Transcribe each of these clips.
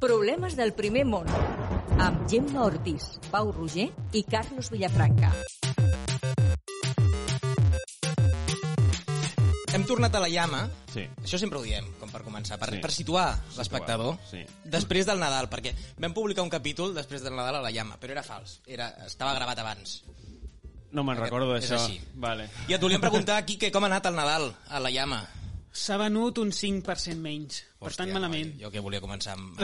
Problemes del primer món amb Gemma Ortiz, Pau Roger i Carlos Villafranca. Hem tornat a la llama. Sí. Això sempre ho diem, com per començar, per, Sí. per situar l'espectador sí. després del Nadal, perquè vam publicar un capítol després del Nadal a la llama, però era fals, era, estava gravat abans. No me'n recordo és d'això. així. Vale. I et volíem preguntar, Quique, com ha anat el Nadal a la llama? S'ha venut un 5% menys. Per tant, Hòstia, malament. Noi, jo que volia començar amb...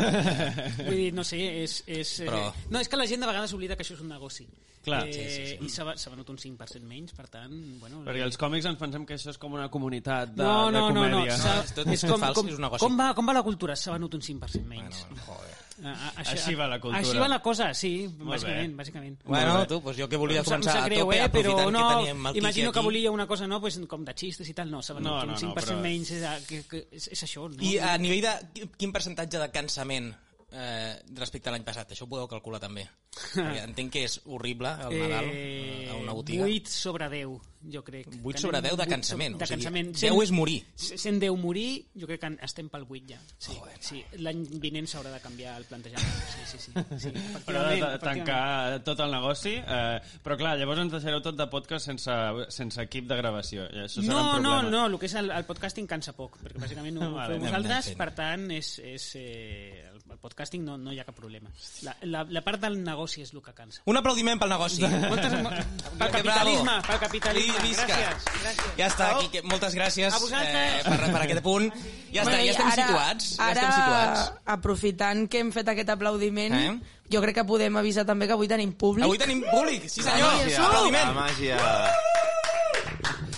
Vull dir, no sé, és... és Però- Però... eh, no, és que la gent de vegades oblida que això és un negoci. Clar. eh, Sí, sí, sí, sí, sí. I s'ha s'ha venut un 5% menys, per tant... Bueno, Perquè els còmics ens pensem que això és com una comunitat de, no, no, de no, no, comèdia. s'ha- És tot fals, com, és un negoci. com, va, com va la cultura? S'ha venut un 5% Bueno, menys. bueno, joder. Bueno, a, a, Així va la cultura. Així va la cosa, sí, Molt bàsicament, bé. bàsicament. Bueno, bé. tu, doncs jo que volia Em sap- em sap començar a tope, eh, però aprofitant no, que teníem el Quique imagino que aquí. volia una cosa no, pues, com de xistes i tal, no, s'ha venut No, un no, no, 5% però- menys, és, a- que, que, és, és això, no? I a nivell de quin percentatge de cansament eh, respecte a l'any passat? Això ho podeu calcular també. Perquè entenc que és horrible el Nadal eh, a una botiga. 8 sobre 10, jo crec. 8 sobre 10 de Tenim cansament. so- De cansament. O sigui, 10 és morir. 110 morir, jo crec que en- estem pel 8 ja. Sí, sí. L'any vinent s'haurà de canviar el plantejament. Sí, sí, sí. sí Però ha de efectivament, ta- efectivament. tancar tot el negoci. Eh, però clar, llavors ens deixareu tot de podcast sense, sense equip de gravació. I això serà un No, no, problema. no, el que és el, el podcasting cansa poc, perquè bàsicament ho Vale, feu anem, vosaltres, anem fent. per tant, és, és, eh, el, el podcasting no, no hi ha cap problema. La, la, la part del negoci és el que cansa. Un aplaudiment pel negoci. Moltes, mo- pel Que capitalisme, bravo. pel capitalisme. I visca. Gràcies, gràcies. Ja està, Bravo. Quique, moltes gràcies eh, A vosaltres. per, per aquest punt. Ja està, ja estem i ara- situats. Ja Ara, estem situats. aprofitant que hem fet aquest aplaudiment, Eh? jo crec que podem avisar també que avui tenim públic. Avui tenim públic, sí La senyor. màgia, la Aplaudiment. màgia.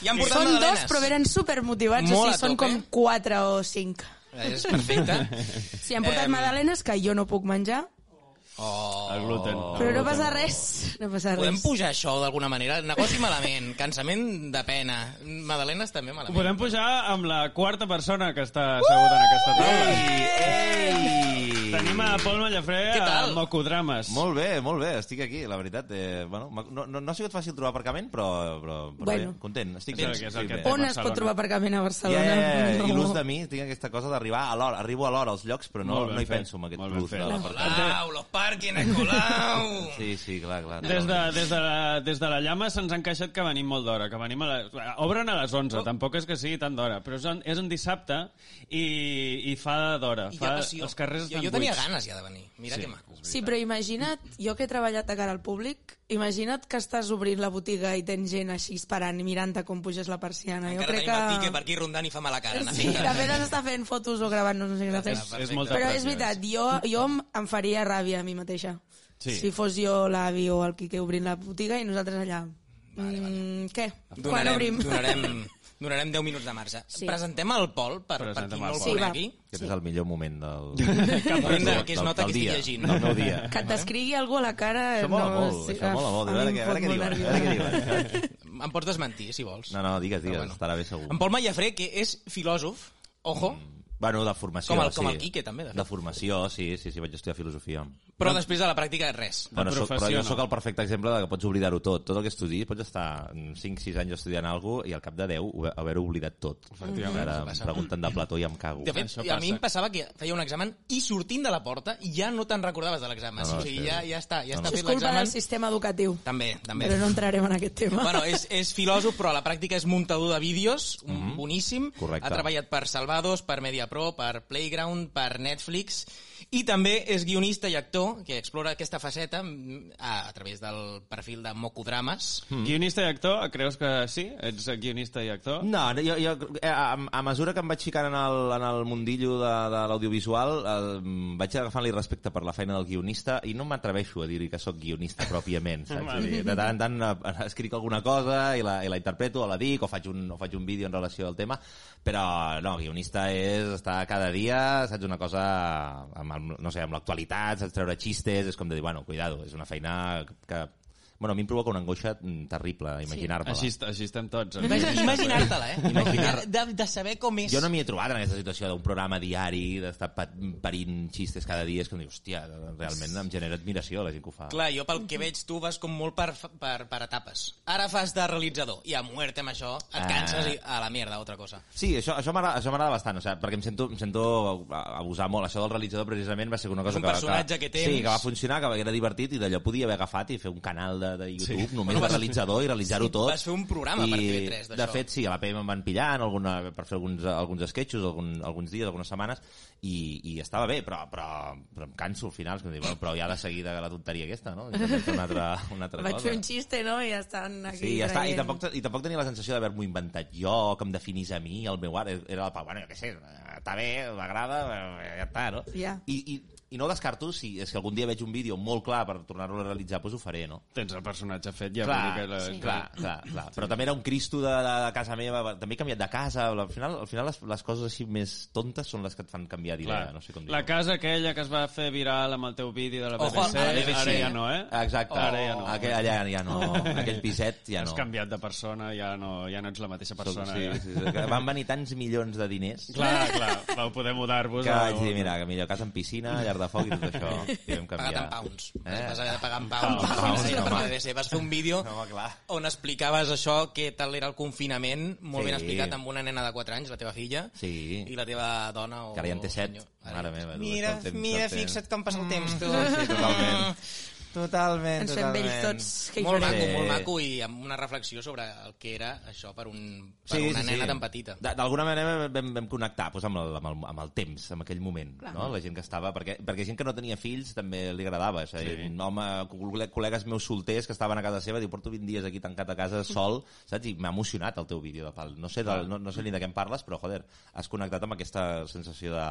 I han portat Són dos, magdalenes. però venen supermotivats, Molt o a sigui, són tope. com quatre o cinc. Eh, És perfecte. Si han portat Em. magdalenes que jo no puc menjar, Oh. El gluten. però no passa res, no passa res. Podem pujar això d'alguna manera? Negoci malament, cansament de pena, magdalenes també Ho malament. podem pujar amb la quarta persona que està asseguda en aquesta taula. Uh! Ei! Tenim a Pol Mallafré Què a tal? Mocodrames. Molt bé, molt bé, estic aquí, la veritat. Eh, bueno, m'ha- no, no, no ha sigut fàcil trobar aparcament, però, però, però Bueno. bé, content. Estic És el bé. que- és el estic que bé. té. On es pot Barcelona. trobar aparcament a Yeah, Barcelona? yeah, yeah. I l'ús de mi, tinc aquesta cosa d'arribar a l'hora. Arribo a l'hora als llocs, però no, Molt ben no hi fet, penso en aquest molt ben plus de fet. l'aparcament. Colau, los parking a Colau. Sí, sí, clar, clar. Des de, des, de la, des de la llama se'ns han queixat que venim molt d'hora, que venim a la... Obren a les 11, tampoc és que sigui tant d'hora, però és un, és un dissabte i, i fa d'hora. I Fa, passió. els carrers jo, estan jo tenia buits. ganes ja de venir. Mira sí. que maco. Sí, però imagina't, jo que he treballat de cara al públic, imagina't que estàs obrint la botiga i tens gent així esperant i mirant-te com puges la persiana. Encara jo tenim el crec Quique que... per aquí rondant i fa mala cara. Sí, també ens està fent fotos o gravant-nos, no sé què està És- fent. És, és Perfecte. molta Però és pressió. veritat, jo, jo em- em faria ràbia a mi mateixa. Sí. Si fos jo l'avi o el Quique obrint la botiga i nosaltres allà... Vale, vale. Mm, què? Quan Donarem, obrim? donarem, donarem 10 minuts de marge. Sí. Presentem el Pol, per, per qui Presentem no el el Pol. Sí, va. conegui. Aquest és el millor moment del... moment de- que es nota que estic dia, llegint. Del meu dia. Que et descrigui algú a la cara... Això mola no, molt, sí, això mola molt. a A mi em veure què- a fot veure què molt diuen, a nerviós. veure què diuen. Em pots desmentir, si vols. No, no, digues, digues, Però bueno. estarà bé segur. Mm. En Pol Mallafré, que és filòsof, ojo, Bueno, de formació, Com el- com sí. el Quique, també, de fet. De formació, sí, sí, sí, vaig estudiar filosofia. però després a la pràctica res. Bueno, soc, però professió, jo no. sóc el perfecte exemple de que pots oblidar-ho tot. Tot el que estudis, pots estar 5-6 anys estudiant alguna cosa i al cap de 10 ho- haver-ho oblidat tot. Ara em pregunten de Plató i em cago. De fet, a Això mi passa. em passava que feia un examen i sortint de la porta ja no te'n recordaves de l'examen. No, no, o sigui, sí. ja, ja està, ja No, està no. És fet culpa del l'examen. sistema educatiu. També, també. eh, Però no entrarem en aquest tema. Bueno, és, és filòsof, però a la pràctica és muntador de vídeos, mm -hmm. boníssim. Mhm. Correcte. Ha treballat per Salvados, per Mediapro, per Playground, per Netflix, i també és guionista i actor, que explora aquesta faceta mm, a, a través del perfil de Mocodrames. Mm. Guionista i actor, creus que sí? Ets guionista i actor? No, no, jo, jo, eh, a, a mesura que em vaig ficant en el, en el mundillo de, de l'audiovisual eh, vaig agafant-li respecte per la feina del guionista i no m'atreveixo a dir que sóc guionista pròpiament, saps? És a dir, De tant en tant eh, escric alguna cosa i la, i la interpreto o la dic o faig, un, o faig un vídeo en relació al tema, però no, guionista és estar cada dia, saps, una cosa amb, el, no sé, amb l'actualitat, saps, treure xistes, és com de dir, bueno, cuidado, és una feina que Bueno, a mi em provoca una angoixa mm, terrible imaginar-me-la. Així, est- així estem tots. eh? Imagi- Imaginar-te-la, eh? Imaginar- De, de saber com és. Jo no m'hi he trobat en aquesta situació d'un programa diari, d'estar pa- parint xistes cada dia, és que em dic, hòstia, realment em genera admiració la gent que ho fa. Clar, jo pel que veig tu vas com molt per, per, per etapes. Ara fas de realitzador i a muerte amb això et Ah. canses i a la merda, altra cosa. Sí, això, això m'agrada això m'agrada bastant, o sigui, perquè em sento, em sento abusar molt. Això del realitzador precisament va ser una cosa un que, va- personatge que tens. Sí, que va funcionar, que era divertit i d'allò podia haver agafat i fer un canal de, de YouTube sí. només Bueno, bueno, vas- de realitzador i realitzar-ho tot. vas fer un programa per TV3 d'això. De fet, sí, a la PM em van pillar en alguna, per fer alguns, alguns sketchos, algun, alguns dies, algunes setmanes, i, i estava bé, però, però, però em canso al final, és que em dic, bueno, però ja de seguida la tonteria aquesta, no? Una altra, una altra Vaig cosa. fer un xiste, no? I ja estan aquí Sí, ja està. I traient. tampoc, i tampoc tenia la sensació d'haver-m'ho inventat jo, que em definís a mi, el meu art. Era el Pau, bueno, jo què sé, està bé, m'agrada, eh, ja està, no? Ja. I, i, I no ho descarto, si és que algun dia veig un vídeo molt clar per tornar-lo a realitzar, doncs ho faré, no? Tens el personatge fet, ja. clar, vull dir que la- sí. clar, clar, clar. Però també era un Cristo de, de, de casa meva, va- també he canviat de casa. Al final, al final les, les coses així més tontes són les que et fan canviar d'idea, Clar. no sé com dir-ho. la casa aquella que es va fer viral amb el teu vídeo de la Ojo, BBC, amb la BBC. ara ja no, eh? Exacte. Ara ja no. Aquell, allà ja no. Aquell piset ja no. Has canviat de persona, ja no, ja no ets la mateixa persona. eh? Sí, ja. sí, sí, que van venir tants milions de diners Clar, clar, vau poder mudar-vos. que a- vaig dir, mira, que millor casa en piscina, llar de foc i tot això. I vam canviar. Pagat en pounds. Eh? Eh? Vas haver de pagar en pounds. Pounds, pounds sí, no, per home. la BBC. Vas fer un vídeo No, home, clar. on explicaves això, que tal era el confinament, molt Sí. ben explicat, amb una nena de 4 anys, la teva filla, Sí. i la teva dona. O... Que ara ja en té set. senyor. Mare meva, tu, Mira, el temps, el mira, temps. fixa't com passa el temps, tu. Mm. Sí, totalment. Totalment, Ens fem vells tots. Que hi Molt farem? maco, Sí. molt maco, i amb una reflexió sobre el que era això per, un, per una nena tan petita. De- D'alguna manera vam, vam connectar doncs, amb, el, amb, el, amb el temps, amb aquell moment, no? la gent que estava, perquè, perquè gent que no tenia fills també li agradava, és a dir, un home, col- col·legues meus solters que estaven a casa seva, diu, porto 20 dies aquí tancat a casa sol, saps? I m'ha emocionat el teu vídeo de pal. No sé, de, no, no sé ni de què em parles, però, joder, has connectat amb aquesta sensació de,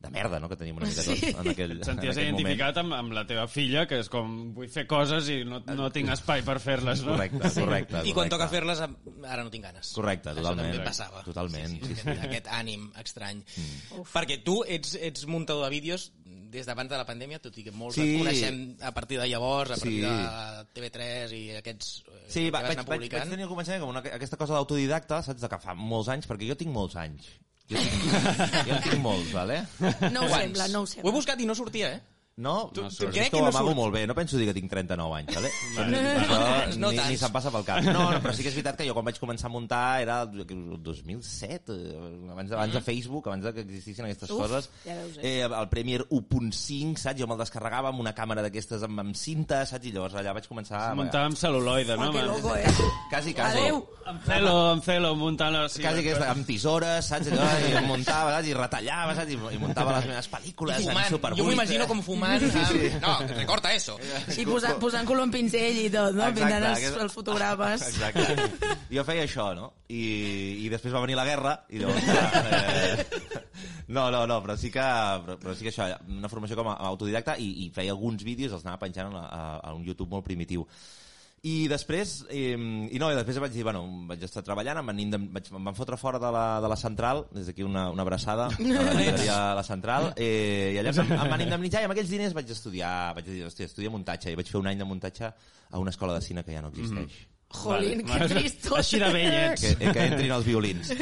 de merda, no?, que teníem una mica tots en aquell, Et en senties aquell moment. identificat amb, amb la teva filla, que és com, vull fer coses i no, no tinc espai per fer-les, no? Correcte, correcte, correcte. I quan toca fer-les, ara no tinc ganes. Correcte, totalment. Això també passava. Totalment, Sí, sí, sí, sí. Aquest, aquest ànim estrany. Mm. Perquè tu ets, ets muntador de vídeos des d'abans de la pandèmia, tot i que molts Sí. sí. et coneixem a partir de llavors, a Sí. partir de TV3 i aquests eh, Sí, que va, vas vaig, anar vaig, vaig publicant. tenir al començament com una, aquesta cosa d'autodidacta, saps, de que fa molts anys, perquè jo tinc molts anys. Jo tinc, jo en tinc molts, vale? No ho Quants? sembla, no ho Ho he sembla. buscat i no sortia, eh? No, tu, No tu surt. crec que ho amago molt bé, no penso dir que tinc 39 anys, vale? Això tants, no ni, ni tants. se'm passa pel cap. No, no, però sí que és veritat que jo quan vaig començar a muntar era el 2007, eh, abans, de- abans Mm. de Facebook, abans de que existissin aquestes Uf, coses. ja veus, eh? el Premiere 1.5, saps? Jo me'l descarregava amb una càmera d'aquestes amb, amb cinta, saps? I llavors allà vaig començar... Muntar amb cel·luloide, no? Ah, que home? loco, eh? Quasi, quasi. Adeu. Amb celo, amb celo, muntant... la- Sí, quasi que està, amb tisores, saps? Allò, I em muntava, saps? I retallava, saps? I, i muntava les meves pel·lícules en Fumant. Super Jo m'ho imagino com fumant. amb- No, recorta eso. Sí, posant, posant color en pinzell i tot, no? Exacte, Pintant els, aquest- els fotogrames. Exacte. Jo feia això, no? I, I després va venir la guerra i llavors... Eh, no, no, no, però sí que, però, però sí que això, una formació com a, autodidacta i, i feia alguns vídeos, els anava penjant a, a, a un YouTube molt primitiu. I després, eh, i no, i després vaig dir, bueno, vaig estar treballant, em van, in- em vaig, em van fotre fora de la, de la central, des d'aquí una, una abraçada, a la llibreria de la central, eh, i allà em, em van indemnitzar i amb aquells diners vaig estudiar, vaig dir, hòstia, estudia muntatge, i vaig fer un any de muntatge a una escola de cine que ja no existeix. Mm. Jolín, Vale. que tristos. Així de vell ets. Que, eh, que entrin els violins.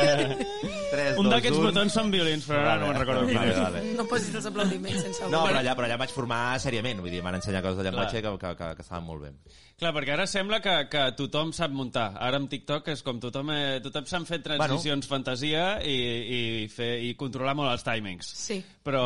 3, Un d'aquests botons són violins, però ara no me'n recordo quin vale, és. vale. No posis els aplaudiments sense No, voler. però allà, però allà em vaig formar seriament, vull dir, em van ensenyar coses de llenguatge que, que, que, que estaven molt bé. Clar, perquè ara sembla que, que tothom sap muntar. Ara amb TikTok és com tothom, eh, tothom s'han fet transicions bueno. fantasia i, i, fer, i controlar molt els timings. Sí. Però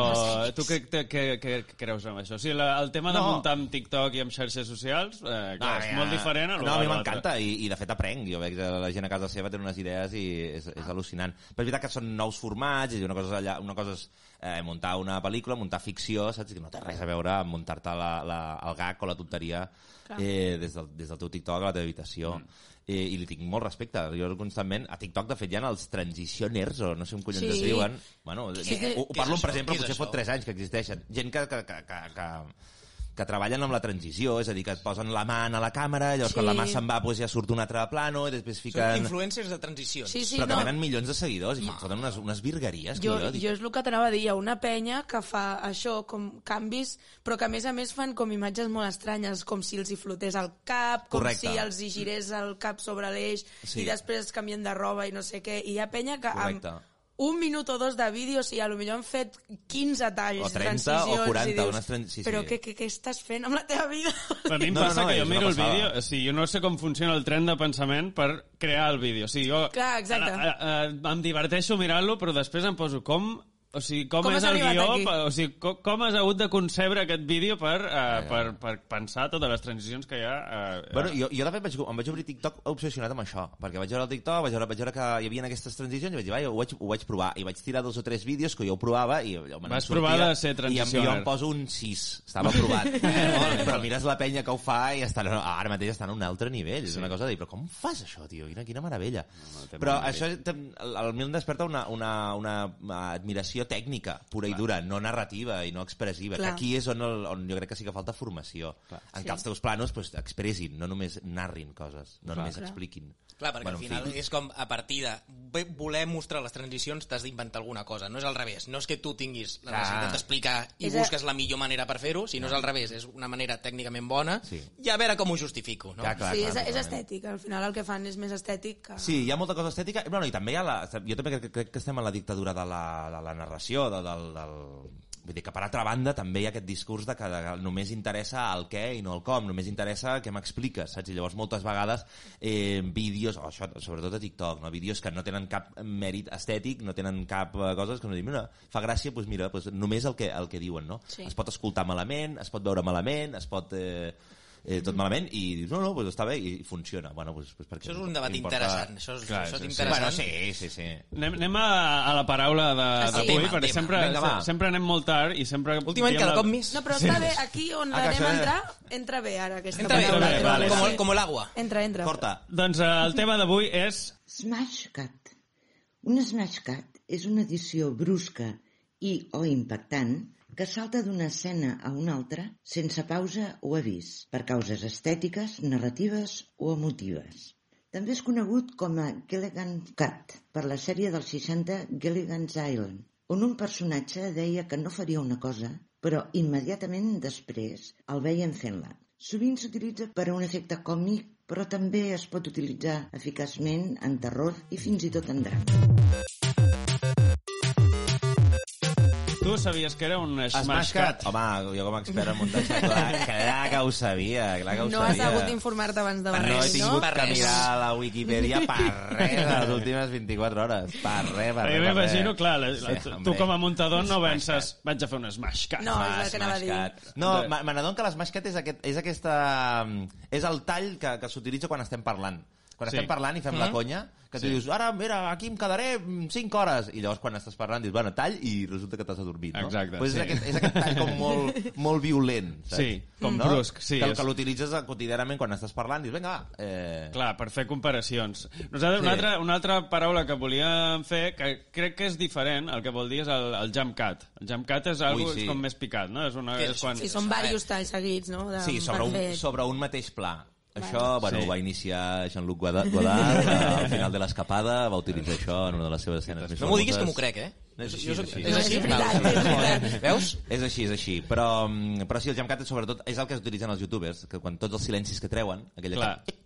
tu què, què, què, què creus amb això? O sigui, la, el tema de No. muntar amb TikTok i amb xarxes socials eh, clar, és molt diferent. A lo- Ah, no, a mi lo m'encanta i, i de fet aprenc. Jo veig que la gent a casa seva té unes idees i és, és al·lucinant. Però és veritat que són nous formats i una cosa és, allà, una cosa és eh, muntar una pel·lícula, muntar ficció, saps? Que no té res a veure amb muntar-te la, la, el gag o la tonteria eh, des, del, des del teu TikTok a la teva habitació. Mm. Eh, i li tinc molt respecte jo constantment, a TikTok de fet hi ha els transitioners o no sé on collons Sí. sí. es diuen bueno, ho, Què ho parlo és per això? Què exemple és potser això? fot 3 anys que existeixen gent que, que, que, que, que que treballen amb la transició, és a dir, que et posen la mà a la càmera, llavors sí. quan Sí. la mà se'n va doncs ja surt un altre plano i després fiquen... influencers de transicions. Sí, sí, però que no. venen milions de seguidors i foten unes, unes virgueries. que Jo, jo dic, jo és el que t'anava a dir, hi ha una penya que fa això, com canvis, però que a més a més fan com imatges molt estranyes, com si els hi flotés el cap, com si Correcte. els hi girés el cap sobre l'eix, Sí. sí. i després canvien de roba i no sé què. I hi ha penya que Correcte. amb un minut o dos de vídeo, o sigui, a lo millor han fet 15 talls, O 30 transicions, o 40, i dius, unes tran- sí, sí. però què, què, què estàs fent amb la teva vida? A mi em No, no, no, passa no, no, que és jo una miro el passada. vídeo, o sigui, jo no sé com funciona el tren de pensament per crear el vídeo. O sigui, jo Clar, exacte. A, a, a, em diverteixo mirant-lo, però després em poso com... O sigui, com, Com és has el arribat guió, aquí? pa- o sigui, com, com has hagut de concebre aquest vídeo per, uh, per, per pensar totes les transicions que hi ha... Uh, Ah, Bueno, jo, jo de fet vaig, em vaig obrir TikTok obsessionat amb això, perquè vaig veure el TikTok, vaig veure, vaig veure que hi havia aquestes transicions i vaig dir, "Vai, ho vaig, ho vaig provar, i vaig tirar dos o tres vídeos que jo ho provava i allò me n'en Vas sortia, provar de ser I em, transicioner. jo em poso un 6, estava aprovat. però mires la penya que ho fa i estan, ara mateix estan a un altre nivell, és una cosa de dir, però com fas això, tio? Quina, quina meravella. té però molt això tam- al al mi em desperta una, una, una admiració tècnica, pura i dura, no narrativa i no expressiva, que Clar. aquí és on, el, on jo crec que sí que falta formació. Clar. En sí. què els teus planos pues, expressin, no només narrin coses, no clar, només clar. expliquin. Clar, perquè bueno, al en final fi. és com a partir de bé, voler mostrar les transicions t'has d'inventar alguna cosa, no és al revés, no és que tu tinguis la Clar. necessitat d'explicar i És a- busques la millor manera per fer-ho, sinó és al revés, és una manera tècnicament bona Ah. Sí. i a veure com ho justifico, no? Clar, clar, sí, clar, és, és totalment. estètic, al final el que fan és més estètic que... Sí, hi ha molta cosa estètica. i, Bueno, I també hi ha la... Jo també crec, crec que estem en la dictadura de la, de la narració, de, del, del... Vull dir que, per altra banda, també hi ha aquest discurs de que de- només interessa el què i no el com, només interessa què m'expliques, saps? I llavors moltes vegades eh, vídeos, o això, sobretot a TikTok, no? vídeos que no tenen cap mèrit estètic, no tenen cap eh, coses que no dic, mira, fa gràcia, doncs mira, doncs només el que, el que diuen, no? Sí. Es pot escoltar malament, es pot veure malament, es pot... Eh, eh, Mm-hmm. tot malament i dius, no, no, doncs està bé i funciona. Bueno, doncs, doncs perquè Això és un debat importa- interessant, això és, Clar, això és sí, sí. interessant. Bueno, sí, sí, sí. Anem, anem a, a la paraula de- Ah, sí. d'avui, Tema, perquè tema. sempre, Vinga, va. sempre anem molt tard i sempre... Últimament diem cada la- cop més. No, però està bé, aquí on Ah, que l'anem això- a entrar, entra bé ara aquesta Entra bé, paraula. vale, entra vale, molt com, bé. com l'agua. Entra, entra. Corta. Doncs eh, el tema d'avui és... Smash Cut. Un Smash Cut és una edició brusca i o impactant que salta d'una escena a una altra sense pausa o avís, per causes estètiques, narratives o emotives. També és conegut com a Gilligan Cut per la sèrie dels 60 Gilligan's Island, on un personatge deia que no faria una cosa, però immediatament després el veien fent-la. Sovint s'utilitza per a un efecte còmic, però també es pot utilitzar eficaçment en terror i fins i tot en drama. Tu sabies que era un smash cut? Home, jo com a expert en muntatge, clar, clar que ho sabia, clar que ho No has sabia. hagut d'informar-te abans de venir, No he res, tingut Per que res. mirar la Wikipedia per res de les últimes 24 hores. Per res, per res. Jo per res. m'imagino, clar, la, la, Sí, tu hombre. com a muntador no Smash penses vaig a fer un smash cut. No, és el que anava a dir. Cat. No, ma- me n'adon que l'esmascat és, aquest, és aquesta... mm, És el tall que, que s'utilitza quan estem parlant. Quan Sí. sí. estem parlant i fem mm Mm-hmm. -hmm. la conya, que tu Sí. dius, ara, mira, aquí em quedaré 5 hores. I llavors quan estàs parlant dius, bueno, tall, i resulta que t'has adormit. No? Exacte, Pues sí. és, aquest, és aquest tall com molt, molt violent. Saps? Sí, com brusc, sí, Que, és- que l'utilitzes eh, quotidianament quan estàs parlant, dius, vinga, va. Eh... Clar, per fer comparacions. Nosaltres, sí. una, Sí. altra, una altra paraula que volíem fer, que crec que és diferent, el que vol dir és el, el jump cut. El jump cut és algo sí. sí. com més picat, no? És, una, Què és és? quan... Sí, són diversos talls seguits, no? De, Sí, sobre un, perfecte. sobre un mateix pla. Això, bueno, Sí. ho va iniciar Jean-Luc Godard, Godard al final de l'escapada, va utilitzar això en una de les seves escenes més No m'ho diguis que m'ho famoses. crec, eh? No, és així, Jo és soc- així. És així? No, és veritat, Val, és molt bé. veritat. Veus? És així, és així. Però, mm, però sí, el jamcat sobretot és el que utilitzen els youtubers, que quan tots els silencis que treuen, aquell Clar. que... Sí.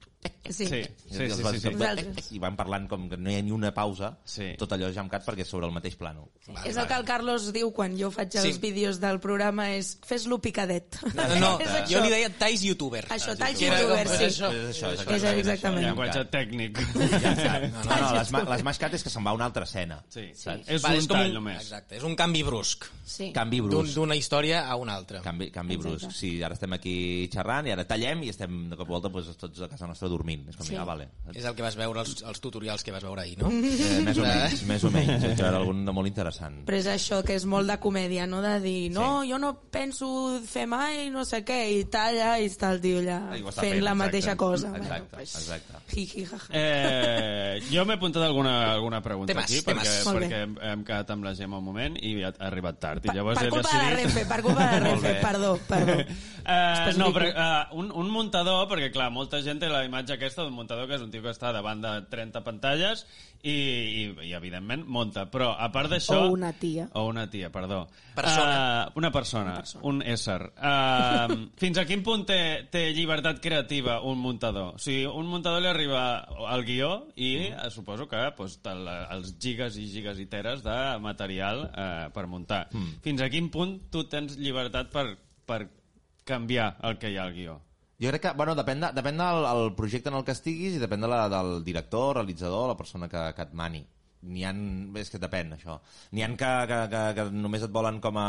Sí, sí, sí, sí, sí. Nosaltres. I van parlant com que no hi ha ni una pausa, Sí. tot allò jamcat perquè és sobre el mateix plano. és el que el Carlos diu quan jo faig els Sí. vídeos del programa, és fes-lo picadet. No, no, És no, això. jo li deia talls youtuber. Això, talls Que era com- youtuber, sí. és això. És això, és És això, exactament. és Llenguatge això. tècnic. No, no, no, les, ma- les mascat és que se'n va a una altra escena. Sí, sí. Saps? És Val, un com tall només. Exacte, és un canvi brusc. Sí. Canvi D'un- brusc. D'una història a una altra. Canvi, canvi brusc. Sí, ara estem aquí xerrant i ara tallem i estem de cop i volta doncs, tots a casa nostra dormint. Min. És com, sí. ah, vale. És el que vas veure, els, els tutorials que vas veure ahir, no? Eh, més o menys, més o menys. Vaig veure algun de molt interessant. Però és això, que és molt de comèdia, no? De dir, no, sí. jo no penso fer mai no sé què, i talla, i està el tio allà Ah, i ho està fent, fent, la exacte. mateixa cosa. Exacte, exacte. Hi, hi, ha, ha. Eh, jo m'he apuntat alguna, alguna pregunta Temes, aquí temes. perquè, Molt bé. perquè hem, hem quedat amb la Gemma un moment i ha ha arribat tard i Per, llavors per he culpa de la decidit... Renfe, per culpa de la Molt Renfe, bé. perdó, perdó. Eh, no, Especifico. però eh, un, un muntador, perquè clar, molta gent té la imatge aquesta d'un muntador que és un tio que està davant de 30 pantalles i, i, i evidentment monta, però a part d'això... O una tia. O una tia, perdó. Persona. Eh, una persona, una persona, un ésser. Eh, fins a quin punt té, té llibertat creativa un muntador? O sigui, un muntador li arriba al guió i mm. suposo que pues, te la- els gigas i gigas i teres de material eh, per muntar. Mm. Fins a quin punt tu tens llibertat per, per canviar el que hi ha al guió? Jo crec que, bueno, depèn, de, depèn del, el projecte en el que estiguis i depèn de la, del director, realitzador, la persona que, que et mani. N'hi ha... És que depèn, això. N'hi ha que, que, que, que només et volen com a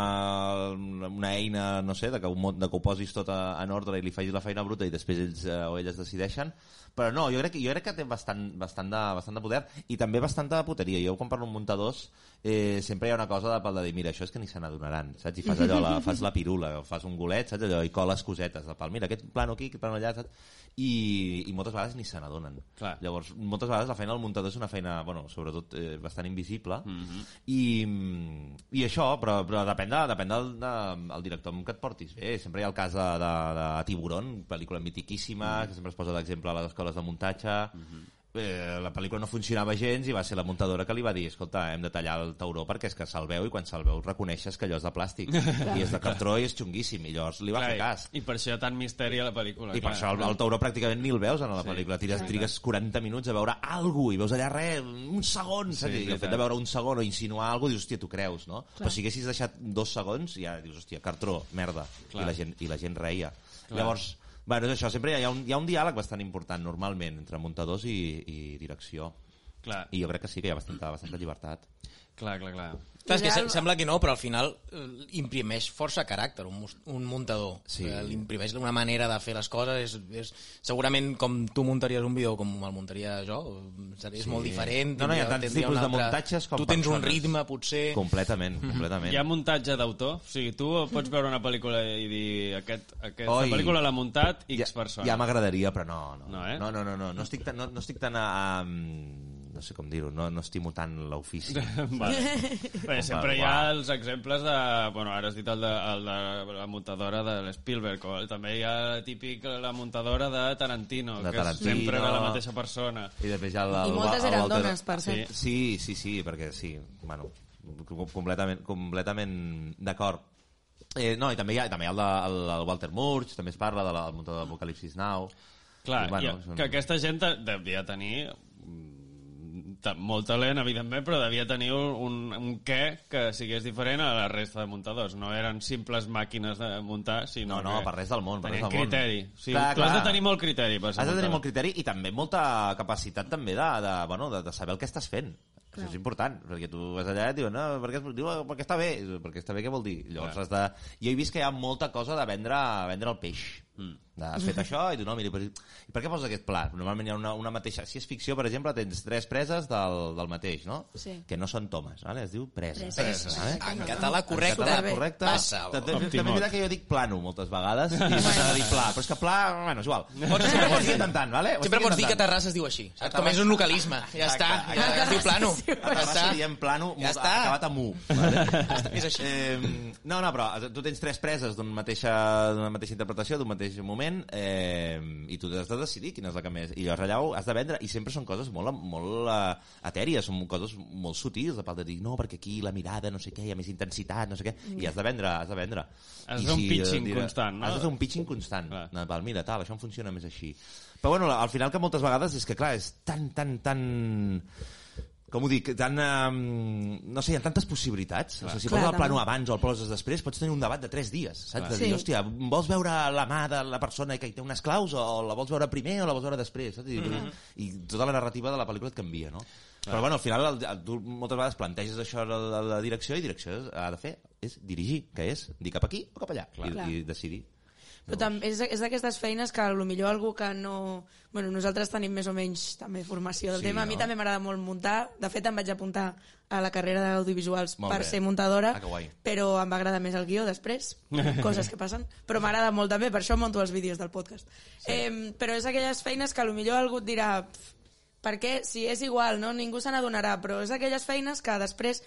una eina, no sé, de que, ho, mo- de que ho posis tot a, en ordre i li facis la feina bruta i després ells eh, o elles decideixen. Però no, jo crec, que- jo crec que té bastant, bastant, de, bastant de poder i també bastanta puteria. Jo quan parlo amb muntadors eh, sempre hi ha una cosa de pal de dir, mira, això és que ni se n'adonaran, saps? I fas allò, la, fas la pirula, o fas un golet, saps? Allò, i coles cosetes, de pal, mira, aquest plano aquí, aquest plano allà, saps? I, i moltes vegades ni se n'adonen. Clar. Llavors, moltes vegades la feina del muntador és una feina, bueno, sobretot eh, bastant invisible, mm -hmm. i, i això, però, però depèn, de, depèn del, de, el director amb què et portis. Bé, sempre hi ha el cas de, de, de Tiburón, pel·lícula mitiquíssima, mm -hmm. que sempre es posa d'exemple a les escoles de muntatge, mm -hmm eh, la pel·lícula no funcionava gens i va ser la muntadora que li va dir escolta, hem de tallar el tauró perquè és que salveu i quan salveu reconeixes que allò és de plàstic i és de cartró i és xunguíssim i llavors li va Clar, fer cas I, I per això hi ha tant misteri a la pel·lícula. i per això el, el tauró pràcticament ni el veus en la pel·lícula. Tires, trigues 40 minuts a veure alguna i veus allà res, un segon, saps? I el veritat. fet de veure un segon o insinuar alguna dius, hòstia, tu creus, no? Clar. Però si haguessis deixat dos segons, ja dius, hòstia, cartró, merda. Clar. I la gent, i la gent reia. Clar. Llavors, bueno, és això, sempre hi ha, un, hi ha un diàleg bastant important, normalment, entre muntadors i, i direcció. Clar, I jo crec que sí que hi ha bastanta, bastanta llibertat. clar, clar, clar. Clar, és que se- Ideal. sembla que no, però al final eh, imprimeix força caràcter un, mus- un muntador. Sí. Eh, L'imprimeix una manera de fer les coses. És, és, segurament com tu muntaries un vídeo com el muntaria jo, seria sí. molt diferent. No, no, hi ha tindria- tants tindria tipus un de altre- muntatges com Tu tens un persones. ritme, potser... Completament, completament. Hi ha muntatge d'autor? O sigui, tu pots veure una pel·lícula i dir aquest, aquesta Oi. pel·lícula l'ha muntat X ja, persona. Ja m'agradaria, però no. No, No, eh? no, no, no, no, no estic tan, no, no estic tan a, a, no sé com dir-ho, no, no estimo tant l'ofici. Vale. Bé, sempre hi ha Uau. els exemples de... Bueno, ara has dit el de, el de la muntadora de l'Spielberg, o el- també hi ha la típic la muntadora de Tarantino, De que Tarantino. sempre era la mateixa persona. I després ja el, I el, moltes el eren Walter- dones, per cert. Sí, sí, sí, perquè sí, bueno, com- completament, completament d'acord. Eh, no, i també hi ha, també hi ha el, de, el, el Walter Murch, també es parla de la, del muntador d'Apocalipsis Now. Clar, I, bueno, és un- que aquesta gent te- devia tenir mm, ta- molt talent, evidentment, però devia tenir un, un què que sigués diferent a la resta de muntadors. No eren simples màquines de muntar, sinó No, no, que per res del món, per res tenien del món. criteri. Sí, Clar, tu has de clar. tenir molt criteri per ser Has de tenir muntador. molt criteri i també molta capacitat també de, de, bueno, de, de saber el que estàs fent. Clar. Això és important, perquè tu vas allà i et diuen, no, perquè, diu, "Ah, perquè està bé, I diu, perquè està bé, què vol dir? I Llavors Clar. has de... Jo he vist que hi ha molta cosa de vendre, vendre el peix. Mm. Has fet això i tu, no, mira, per, i per què poses aquest plat? Normalment hi ha una, una mateixa... Si és ficció, per exemple, tens tres preses del, del mateix, no? Sí. Que no són tomes, vale? es diu preses. Preses. Vale? En català correcte, eh? En català correcte. passa. També també és Timot. veritat que jo dic plano moltes vegades i m'agrada dir pla, però és que pla, bueno, és igual. Pots- Pots, sempre pots dir intentant, vale? Ho Sempre pots estic dir que intentant. Terrassa es diu així. A Saps? Com és un localisme. Ja Exacte, està. Ja, exacte. es diu plano. A Ja Terrassa està. diem plano, Ja ja està. acabat amb U. Vale? És així. Eh, no, no, però tu tens tres preses d'una mateixa, d'una mateixa interpretació, d'un mateix moment, eh, i tu has de decidir quina és la que més... I llavors allà ho has de vendre, i sempre són coses molt, molt uh, etèries, són coses molt sutils, de part de dir, no, perquè aquí la mirada, no sé què, hi ha més intensitat, no sé què, Mm. i has de vendre, has de vendre. Has I de fer un eh, pitching constant, no? Has de fer un pitching constant. Clar. No, val, mira, tal, això em funciona més així. Però bueno, al final que moltes vegades és que, clar, és tan, tan, tan com ho dic, tan, um, no sé, hi ha tantes possibilitats. O sigui, si Clar, poses el plano també. abans o el poses després, pots tenir un debat de tres dies, saps? De dir, Sí. hòstia, vols veure la mà de la persona que hi té unes claus o la vols veure primer o la vols veure després, saps? I, I tota la narrativa de la pel·lícula et canvia, no? Però, bueno, al final, el, el, tu moltes vegades planteges això a la, a la direcció i direcció ha de fer és dirigir, que és dir cap aquí o cap allà, Clar. i, i decidir. Però també és, és d'aquestes feines que a lo millor algú que no... Bueno, nosaltres tenim més o menys també formació del Sí, sí, tema. A no? mi també m'agrada molt muntar. De fet, em vaig apuntar a la carrera d'audiovisuals Molt per bé. ser muntadora, Ah, que guai. però em va agradar més el guió després, coses que passen. Però m'agrada molt també, per això monto els vídeos del podcast. Sí. Eh, però és aquelles feines que a lo millor algú et dirà... "Pf, Per què? Si és igual, no? Ningú se n'adonarà, però és aquelles feines que després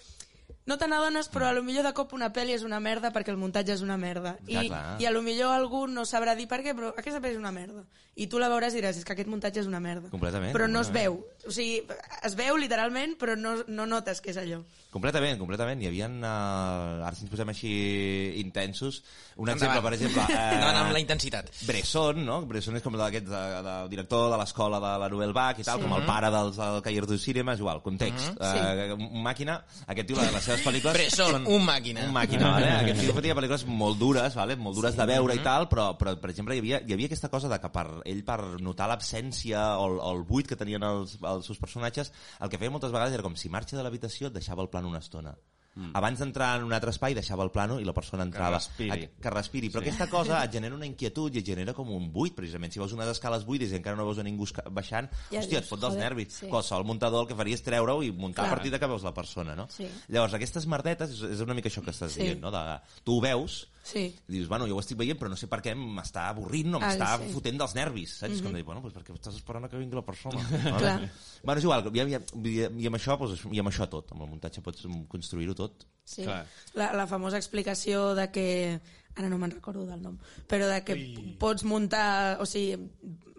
no te n'adones, però a lo millor de cop una pel·li és una merda perquè el muntatge és una merda. Ja, I, clar. I a lo millor algú no sabrà dir per què, però aquesta pel·li és una merda. I tu la veuràs i diràs, és que aquest muntatge és una merda. Completament, Però no es veu. completament. O sigui, es veu literalment, però no, no notes que és allò. Completament, completament. Hi havia, uh, ara si ens posem així intensos, un exemple, Endavant. per exemple... eh, Endavant amb la intensitat. Bresson, no? Bresson és com d'aquest de, de, director de l'escola de la Nouvelle Vague i tal, sí. com el pare dels del Cayer du Cinema, és igual, context. Mm -hmm. uh, sí. Un màquina, aquest tio, les seves pel·lícules... Mm-hmm. Bresson, un màquina. Un màquina, vale? Aquest tio fotia pel·lícules molt dures, vale? molt dures sí. de veure i tal, però, però per exemple, hi havia, hi havia aquesta cosa de que per ell, per notar l'absència o, el- o el buit que tenien els, els seus personatges, el que feia moltes vegades era com si marxa de l'habitació et deixava el plano una estona. Mm. Abans d'entrar en un altre espai deixava el plano i la persona entrava. respiri. A- Que respiri. Però sí. aquesta cosa et genera una inquietud i et genera com un buit, precisament. Si veus unes escales buides i encara no veus a ningú esca- baixant, ja Ja hòstia, et dius, fot dels joder, nervis. Sí. sí. Qualsevol muntador el que faria és treure-ho i muntar Clar. a partir de que veus la persona, no? Sí. Llavors, aquestes merdetes és, és una mica això que estàs Sí. dient, no? De, tu ho veus, Sí. i dius, bueno, jo ho estic veient, però no sé per què m'està avorrint o Ah, m'està sí. fotent dels nervis, saps? Mm -hmm. Com de dir, bueno, doncs perquè estàs esperant que vingui la persona. Clar. vale? Bueno, és igual, i, i, i, amb això, doncs, i amb això tot, amb el muntatge pots construir-ho tot. Sí. Clar. La, la famosa explicació de que ara no me'n recordo del nom, però de que Ui. pots muntar, o sigui,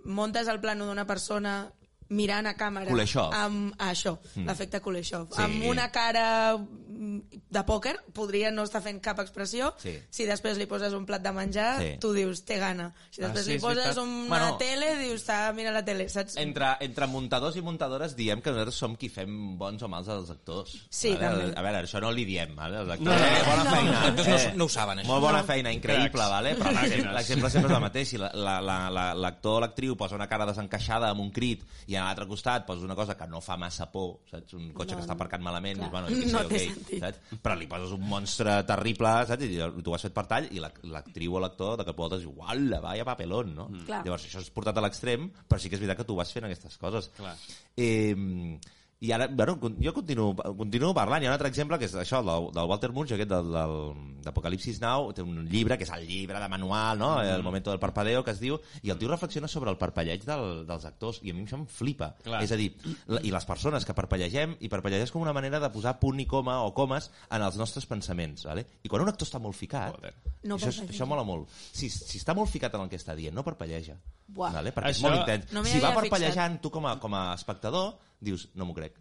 montes el plano d'una persona mirant a càmera Kuleshov. amb a això, mm. l'efecte Kuleshov. Sí. Sí. Amb una cara mm, de pòquer podria no estar fent cap expressió. Sí. Si després li poses un plat de menjar, Sí. sí. tu dius, té gana. Si Ah, després sí, li és poses veritat. una Bueno. bueno, tele, dius, està, mira la tele, saps? Entre, entre muntadors i muntadores diem que nosaltres som qui fem bons o mals als actors. Sí, també. A veure, això no li diem, vale? Els actors, No, no, eh, bona no. feina. Els actors no- eh, no ho saben, això. Molt bona feina, increïble, Cracs. vale? però l'exem- Màquines. l'exemple sempre és el mateix. Si la- la- la- la- l'actor o l'actriu posa una cara desencaixada amb un crit i a l'altre costat posa una cosa que no fa massa por, saps? Un cotxe No, que està no. aparcat malament, dius, Clar. bueno, jo què sé, No té ok, sentit. saps? Però li poses un monstre terrible, saps? I tu ho has fet per tall i la- l'actriu o l'actor de cap a volta diu, uala, vaya papelón, no? Clar. Llavors, això és portat a l'extrem, però sí que és veritat que tu vas fent aquestes coses. Clar. Eh, i ara, bueno, con- jo continuo, continuo parlant. Hi ha un altre exemple, que és això, del, del Walter Murch, aquest del- del- d'Apocalipsis Now, té un llibre, que és el llibre de manual, no? El momento del parpadeo, que es diu, i el tio reflexiona sobre el parpelleig del, dels actors, i a mi això em flipa. Clar. És a dir, la, i les persones que parpellegem, i parpellejar és com una manera de posar punt i coma o comes en els nostres pensaments, vale? I quan un actor està molt ficat, Joder. No això, és- parpelleja. això mola molt. Si, si està molt ficat en el que està dient, no parpelleja. Buah. Vale? Perquè és Això- molt intens. No m'hi si va havia fixat. parpellejant, tant, tu com a, com a espectador dius, no m'ho crec.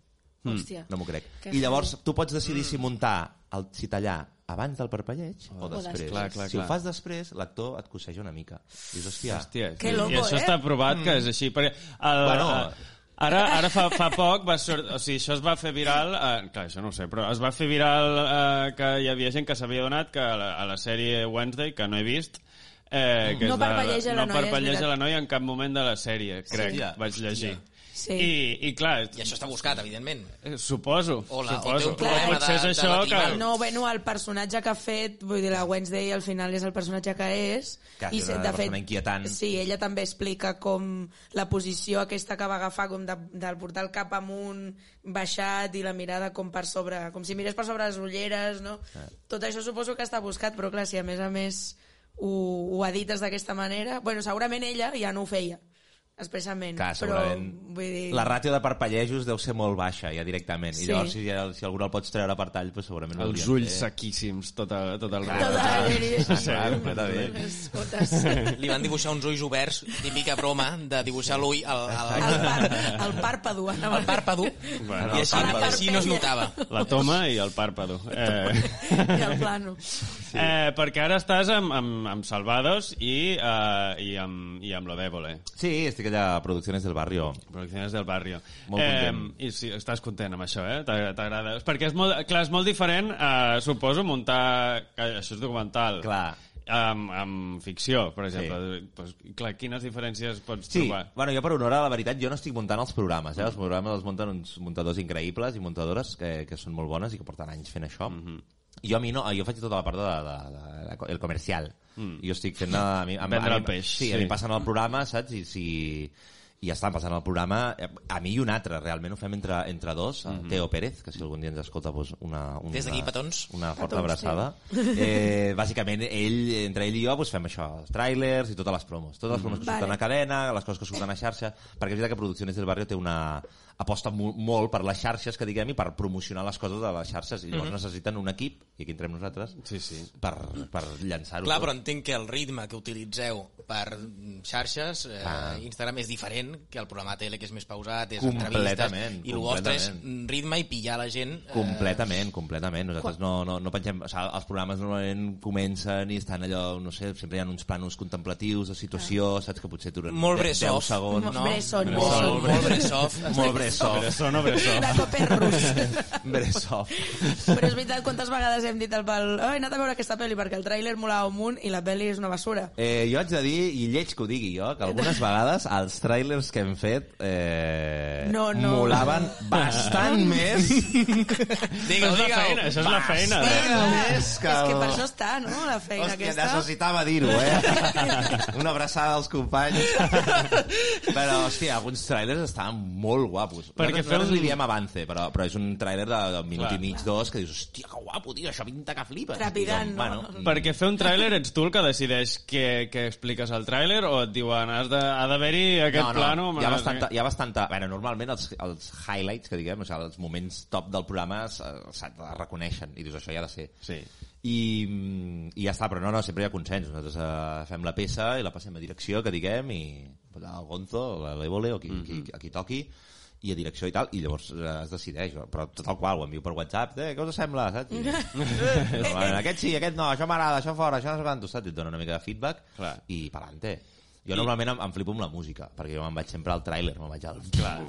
Mm. Hòstia. No m'ho crec. Que I llavors tu pots Mm. decidir si muntar, el, si tallar abans del parpelleig o, després. després. Oh. Clar, clar, Si ho clar. fas després, l'actor et coseja una mica. Dius, hòstia... Hòstia, Que sí. loco, I això eh? està provat que és així, perquè... El, Bueno. bueno... Ara, ara fa, fa poc va sort... O sigui, això es va fer viral... Eh, clar, això no ho sé, però es va fer viral eh, que hi havia gent que s'havia donat que a la, a la sèrie Wednesday, que no he vist... Eh, que Mm. No és la- parpelleja la no noia, és parpelleja veritat. la noia en cap moment de la sèrie, crec, Hòstia, vaig llegir. Sí. I, I clar, I això està buscat, evidentment. eh, suposo, O la- o té suposo. un problema Però potser de- és de això que... latigal. No, bueno, el personatge que ha fet, vull dir, la Wednesday al final és el personatge que és. Que és una persona inquietant. Sí, ella també explica com la posició aquesta que va agafar, com de, del portar el cap amunt, baixat i la mirada com per sobre, com si mirés per sobre les ulleres, no? Ah. Tot això suposo que està buscat, però clar, si a més a més ho, ho edites d'aquesta manera... Bueno, segurament ella ja no ho feia, expressament. Clar, però, segurament vull dir... la ràtio de parpellejos deu ser molt baixa ja directament Sí. i llavors si, si algú el pots treure per tall pues, segurament ho Els haurien ulls de fer. sequíssims, tot el, tot el Tot rato. el- clar, completament. Les gotes. Li van dibuixar uns ulls oberts, típica broma de dibuixar l'ull al, al, El, al, par, el pàrpado. anava al pàrpado, Bueno, i així, al pàrpado. així no es notava. La toma i el pàrpado. Eh, I el plano. sí. eh, perquè ara estàs amb, amb, amb Salvados i, eh, i, amb, i amb Lo Débole, Sí, estic allà a Producciones del Barrio. Producciones del Barrio. Molt content. Eh, I sí, estàs content amb això, eh? T'ag- T'agrada. Perquè és molt, clar, és molt diferent, eh, suposo, muntar... que Això és documental. Clar. Amb, amb ficció, per exemple. Sí. Pues, clar, quines diferències pots Sí, trobar? bueno, jo per honor a la veritat, jo no estic muntant els programes, eh? els programes els munten uns muntadors increïbles i muntadores que, que Mhm. són molt bones i que porten anys fent això. Mm -hmm. Jo a mi no, jo faig tota la part de, de, de, de, el comercial. mm. jo estic fent... A mi, a, mi- Vendre a el mi, peix, Sí, sí. a mi passen el programa, saps? I si i ja estan passant el programa eh, a mi i un altre, realment ho fem entre, entre dos Mhm. mm -hmm. Teo Pérez, que si algun dia ens escolta doncs una, una, Des d'aquí, petons. una forta abraçada eh, bàsicament ell, entre ell i jo doncs fem això, els trailers i totes les promos totes Mhm. les promos que Vale. surten a cadena, les coses que surten a xarxa perquè és veritat que Producciones del Barrio té una aposta mo molt per les xarxes que diguem i per promocionar les coses de les xarxes i llavors Mhm. necessiten un equip, i aquí entrem nosaltres Sí, sí. per, per llançar-ho Clar, tot. però eh, entenc que el ritme que utilitzeu per mm, xarxes, eh, ah. Instagram és diferent, que el programa tele que és més pausat, és Completament, entrevistes, i el vostre és mm, completament. ritme i pillar la gent. eh, Completament, completament. Nosaltres no, no, no pensem... O sigui, els programes normalment comencen i estan allò, no sé, sempre hi ha uns planos contemplatius de situació, saps que potser duren Molt de- Bresov. 10 segons. Mo- Bresson, Molt, Bresson. molt Bresov. Molt Bresov. Bresson o Bresson. De coperros. Bresov. Però és veritat, quantes vegades hem dit al pal oh, he anat a veure aquesta pel·li perquè el tràiler molava un munt i la pel·li és una basura. Eh, jo haig de dir, i lleig que ho digui jo, que algunes vegades els trailers que hem fet eh, No, no. molaven bastant més Digue'l, Això és la digue'l. feina, això és la Vas. feina. eh? Bastant més que... És que per el- això està, no?, la feina Hòstia, aquesta. necessitava dir-ho, eh? Una abraçada als companys. però, hòstia, alguns trailers estaven molt guapos. Perquè Perquè nosaltres, fer nosaltres un- li diem avance, però, però és un trailer de, de minut Clar. i mig, dos, que dius, hòstia, que guapo, tio, això pinta que flipes. Trepidant, I dius, no? mm, Perquè fer un tràiler ets tu el que decideix què, què expliques al tràiler o et diuen has de, ha d'haver-hi aquest no, no, plano... hi ha bastanta... Hi ha bastanta bueno, normalment els, els highlights, que diguem, o sigui, els moments top del programa eh, es, es, es reconeixen, i dius, això hi ha de ser. Sí. I, mm, i ja està, però no, no, sempre hi ha consens. Nosaltres eh, fem la peça i la passem a direcció, que diguem, i pues, el Gonzo, o la l'Evole, o qui, mm -hmm. qui, a qui toqui, i a direcció i tal, i llavors eh, es decideix, però tot el qual, ho envio per WhatsApp, eh, què us sembla, saps? I, normalment, aquest sí, aquest no, això m'agrada, això fora, això no sé quantos, saps? I Et dona una mica de feedback Clar. i per adelante. Jo normalment em, em flipo amb la música, perquè jo me'n vaig sempre al tràiler, me'n vaig al... Clar.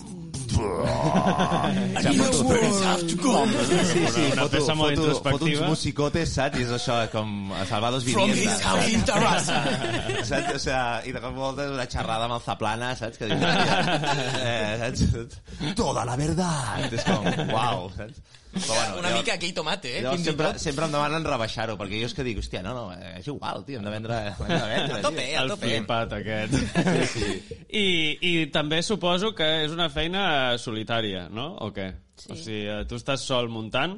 Sí, sí, Una peça molt Foto uns introspectiva. musicotes, saps? I és això, com a Salvados From his Vivienda. house in Terrassa. Saps? O sea, i de cop voltes una xerrada amb el Zaplana, saps? Que dius, "Hòstia", eh, saps? Toda la verdad. És com, uau, saps? Però bueno, Una jo- mica aquell tomate, eh? jo Fins i sempre, tot. sempre em demanen rebaixar-ho, perquè jo és que dic, hòstia, no, no, eh, és igual, tio, hem de vendre... Hem de A vendre tope, tio. eh, a El tope. flipat aquest. Sí, sí. I, I també suposo que és una feina solitària, no? O què? Sí. O sigui, eh, tu estàs sol muntant,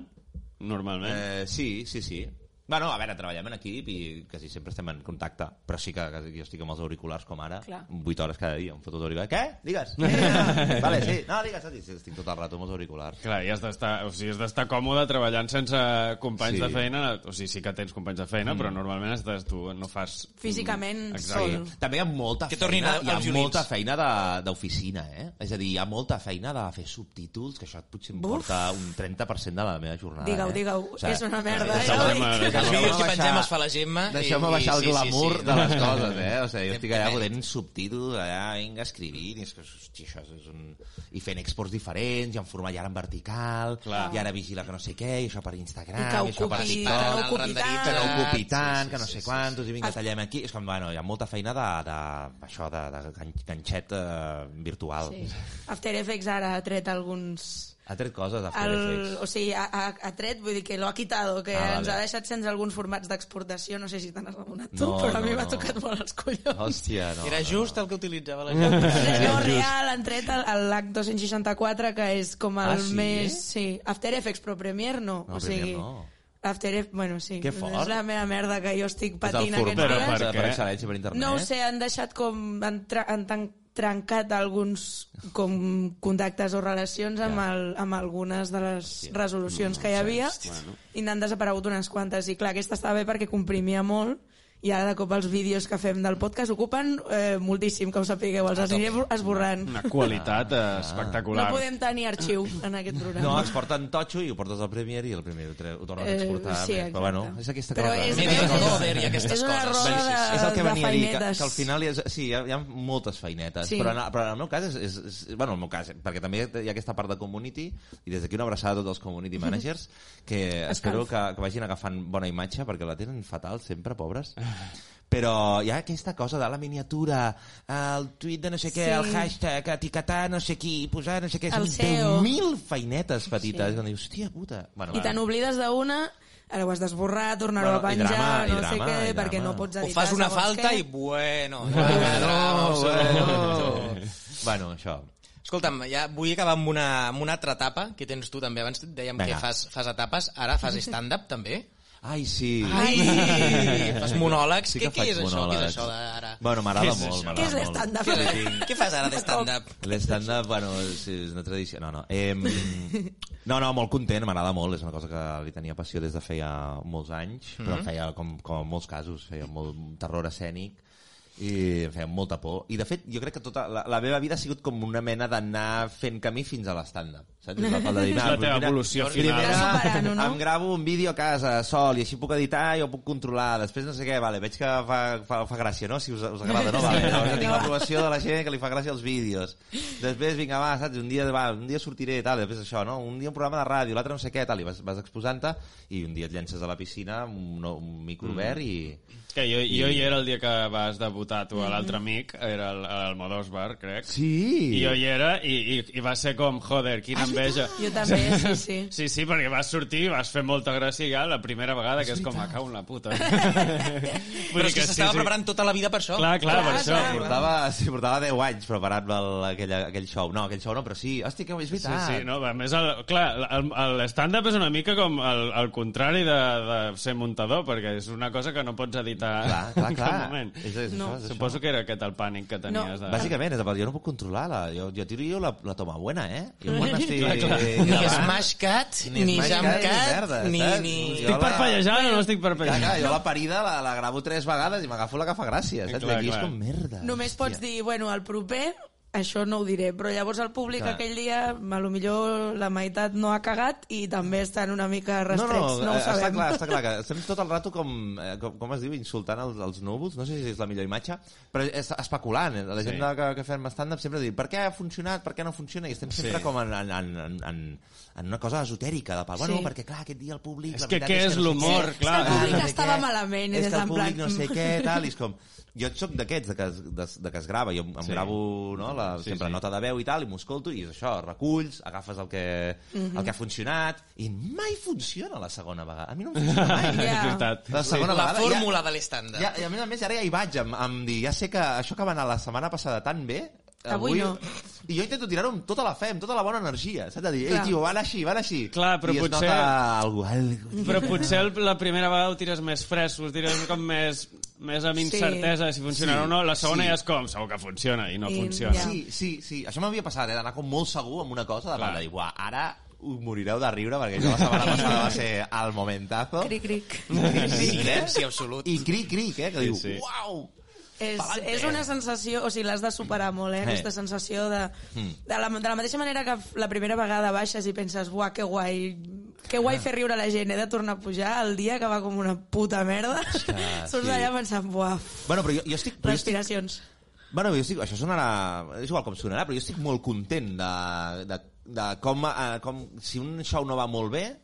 normalment. Eh, sí, sí, sí. Bueno, a veure, treballem en equip i quasi sempre estem en contacte, però sí que quasi jo estic amb els auriculars com ara, Clar. 8 hores cada dia, em foto d'auricular. Què? Digues. Eh, vale, sí. No, digues, digues. Sí, Estic tot el rato amb els auriculars. Clar, i has d'estar o sigui, has d'estar còmode treballant sense companys Sí. de feina. O sigui, sí que tens companys de feina, mm. però normalment estàs tu, no fas... Físicament Exacte. sol. També hi ha molta Que tornin feina, a- hi ha els violins. molta feina de- d'oficina, eh? És a dir, hi ha molta feina de fer subtítols, que això potser em Buf. porta un 30% de la meva jornada. Digue-ho, eh? digue-ho. És una merda, eh? eh? Ja ho dic. Els Deixeu-me vídeos que baixar- pengem els fa la Gemma. i- Deixeu-me i- baixar el sí, sí, glamour sí. de les coses, eh? O sigui, jo Fem estic allà pipet. podent subtítols, allà, vinga, escrivint, i és que, hòstia, això és un... I fent exports diferents, i en format i ara en vertical, Clar. i ara vigila que no sé què, i això per I Instagram, que i això per ocupi- TikTok, que no ocupi que no tant. ocupi tant, Sí, sí, que no sí, sé sí, quantos, i vinga, tallem aquí. És com, bueno, hi ha molta feina de, de això, de, de gan- ganxet eh, virtual. Sí. After Effects ara ha tret alguns Ha tret coses d'After El, o Effects. sigui, ha, ha, ha tret, vull dir que lo ha quitado, que Ah, ah, vale. ens ha deixat sense alguns formats d'exportació, no sé si te n'has adonat tu, No, però a no, mi m'ha no. tocat molt els collons. Hòstia, no. Era no, just el que utilitzava la Gemma. No, real, han tret el- el LAC 264, que és com el Ah, sí? més... Sí, After Effects, però Premiere no. No, o sigui, Premiere no. After Effects, bueno, sí. Que fort. És la meva merda que jo estic Tot el patint format aquests Però dies. per, per per què? excel·lència per internet. No ho sé, han deixat com... Han, tra han tan trencat alguns com contactes o relacions amb, el, amb algunes de les resolucions que hi havia i n'han desaparegut unes quantes i clar, aquesta estava bé perquè comprimia molt i ara de cop els vídeos que fem del podcast ocupen eh, moltíssim, que ho sapigueu els aniré esborrant. Una qualitat ah, No espectacular. podem tenir arxiu en aquest programa. No, exporten totxo i ho portes al Premier i el Premier ho, tre- ho tornen a Eh, exportar. sí, però exacte. bueno, és aquesta Però cosa. eh? és- Mira, Media és- Codover i aquestes és una coses. roda Sí, sí, sí. de- és el que Eh, de venia a dir, que, feinetes. que al final hi ha, sí, hi ha, hi ha moltes feinetes, Sí. sí. però, en, però en el meu cas és, és, és... Bueno, en el meu cas, eh, perquè també hi ha aquesta part de community, i des d'aquí una abraçada a tots els Mhm. community managers, que espero que, que vagin agafant bona imatge, perquè la tenen fatal sempre, pobres. Ah. Però hi ha aquesta cosa de la miniatura, el tuit de no sé Sí. què, sí. el hashtag, etiquetar no sé qui, posar no sé què, El E són SEO. 10.000 feinetes petites. Sí. I dius, hòstia puta. Bueno, I te n'oblides d'una ara ho has d'esborrar, tornar-ho Bueno, a i penjar, drama, i no sé drama, què, i drama. perquè no pots O editar fas una segons falta què. i bueno... Bueno, Oh, bueno. bueno. bueno, això. Escolta'm, ja vull acabar amb una, amb una altra etapa que tens tu també. Abans dèiem Vinga. que fas, fas etapes, ara fas stand-up també. Ai, sí. Ai, fas monòlegs. Sí què, que què és això? Què faig és monòlegs. això d'ara? Bueno, Què m'agrada és molt, això? m'agrada Què és molt. l'estàndard? Què, què fas ara d'stand-up? L'estand-up, bueno, és, és una tradició. No, no. Eh, no, no, molt content, m'agrada molt. És una cosa que li tenia passió des de feia molts anys, però Mm-hmm. em feia, com, com en molts casos, feia molt terror escènic i em feia molta por. I, de fet, jo crec que tota la, la meva vida ha sigut com una mena d'anar fent camí fins a l'estand-up. Saps? És la, cosa de dir, És "Ah, la teva primera- evolució Vas Primera, final. superant-ho, no? em gravo un vídeo a casa sol i així puc editar i ho puc controlar. Després no sé què, vale, veig que fa, fa, fa gràcia, no? Si us, us agrada, no? Vale, llavors ja tinc l'aprovació de la gent que li fa gràcia els vídeos. Després, vinga, va, saps? Un dia, va, un dia sortiré, tal, després això, no? Un dia un programa de ràdio, l'altre no sé què, tal, i vas, vas exposant-te i un dia et llences a la piscina amb un, un micro Mm. obert i... Que jo, jo hi era el dia que vas debutar tu a Mm. l'altre amic, era el, el Modós Bar, crec. I Sí! jo hi era, i, i, i va ser com, joder, quina Ah, enveja. Jo també, sí, sí. Sí, sí, perquè vas sortir i vas fer molta gràcia ja la primera vegada, que és com, me cago en la puta. Però és que s'estava preparant Ah, tota la vida per això. Clar, clar, per això. Portava, sí, portava 10 anys preparant-me el- aquell, aquell show. No, aquell show no, però sí. Hòstia, que és Sí, veritat. sí, no, a més, el, clar, el- el- l'estàndard és una mica com el, el contrari de, de ser muntador, perquè és una cosa que no pots editar Clar, clar, en clar. cap moment. És, és, No. això, és això. Suposo que era aquest el pànic que tenies. No. De... Bàsicament, és, jo no puc controlar-la. Jo, jo tiro jo la, la toma buena, eh? Jo quan estic... Ni Smash Cat, ni Smash Jam Cat, ni Cat, merda, ni... saps? ni... Jo Estic la- parpellejant o no estic Clar, clar, parpellejant? jo la parida la, la gravo tres vegades i m'agafo la que fa gràcia, Clar, saps? Clar, Aquí clar. és com merda. Només pots dir, bueno, el proper, això no ho diré, però llavors el públic Clar. Clar. aquell dia, a lo millor la meitat no ha cagat i també estan una mica restrets, no, no, no ho eh, està sabem. clar, està clar que estem tot el rato com, eh, com, com es diu, insultant els, els núvols, no sé si és la millor imatge, però és especulant, eh? la Sí. gent sí. que, que fem stand-up sempre diu per què ha funcionat, per què no funciona, i estem sempre Sí. com en, en, en, en, en, en una cosa esotèrica, de pal, bueno, Sí. perquè clar, aquest dia el públic... És la que veritat què és no sé l'humor, què, clar. És que el públic no sé estava què, malament, i És des que el en públic plan- no sé què, tal, i és com... Jo sóc d'aquests, de, que es- de, de que es grava, jo em Sí. sí. gravo no, la, Sí, sí, sempre sí. sí. nota de veu i tal, i m'ho escolto, i és això, reculls, agafes el que, el Mhm. que ha funcionat, i mai funciona la segona vegada. A mi no em funciona mai. Ja. És veritat. La segona La vegada... fórmula de Ja, l'estàndard. ja, I a més a més, ara ja hi vaig, amb, amb dir, ja sé que això que va anar la setmana passada tan bé... Avui no. I jo intento tirar-ho amb tota la fe, amb tota la bona energia. Saps? De dir, ei, Clar. tio, van així, van així. Clar, però I es potser- nota algú, algú. Però potser el- la primera vegada ho tires més fresc, ho tires com més, més amb Sí. incertesa si funcionarà o no. La segona ja és com, segur que funciona, i no I funciona. ja. Ah, Sí, sí, sí. Això m'havia passat, eh? d'anar com molt segur amb una cosa, de Clar. part de dir, "Buah, ara us morireu de riure perquè jo la setmana passada va ser el momentazo. Cric, cric. Silenci absolut. eh? I cric, cric, eh? Que diu, sí. uau! És, Pa'lante. és una sensació, o sigui, l'has de superar molt, eh? Aquesta sensació de... Mm. De la, de la mateixa manera que la primera vegada baixes i penses, buah, que guai, que Ah. guai fer riure la gent, he de tornar a pujar el dia que va com una puta merda. Clar, Surts sí. d'allà pensant, buah, Bueno, però jo, jo estic... Però jo estic respiracions. Bueno, jo estic, això sonarà... És igual com sonarà, però jo estic molt content de, de, de com, eh, com... Si un show no va molt bé,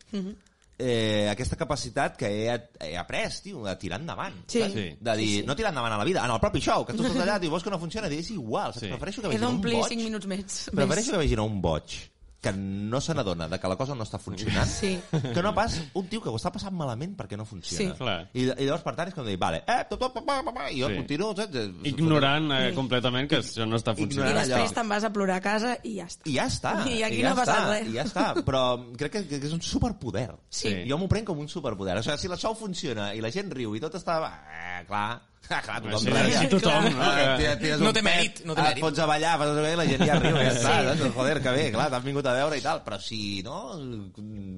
eh, aquesta capacitat que he, he après, tio, de tirar endavant. Sí. saps? Sí. De dir, no tirar endavant a la vida, en el propi show, que tu estàs allà, dius, veus que no funciona, i dius, és igual, saps? Sí. Prefereixo que He vegin un d'omplir 5 boig. minuts més. Prefereixo que vegin un boig que no se n'adona de que la cosa no està funcionant Sí. que no pas un tio que ho està passant malament perquè no funciona Sí. Clar. I, i llavors per tant és com dir vale, eh, tot, tot, pa, pa, pa, pa, i jo Sí. continuo saps? Ignorant eh, completament que això no està I Ignorant funcionant. allò. després te'n vas a plorar a casa i ja està. I ja està. I aquí ja no ha està, passat res. I ja està, però crec que, que és un superpoder. Sí. Jo m'ho prenc com un superpoder. O sigui, si la show funciona i la gent riu i tot està... Eh, clar, Ah, clar, tothom Així, riu. així tothom, no? Ah, Que- tira- tires No un té pet, mèrit, no té et mèrit. Pots a ballar, fas allò que la gent ja riu, ja està. Sí. Joder, que bé, clar, t'has vingut a veure i tal. Però si no,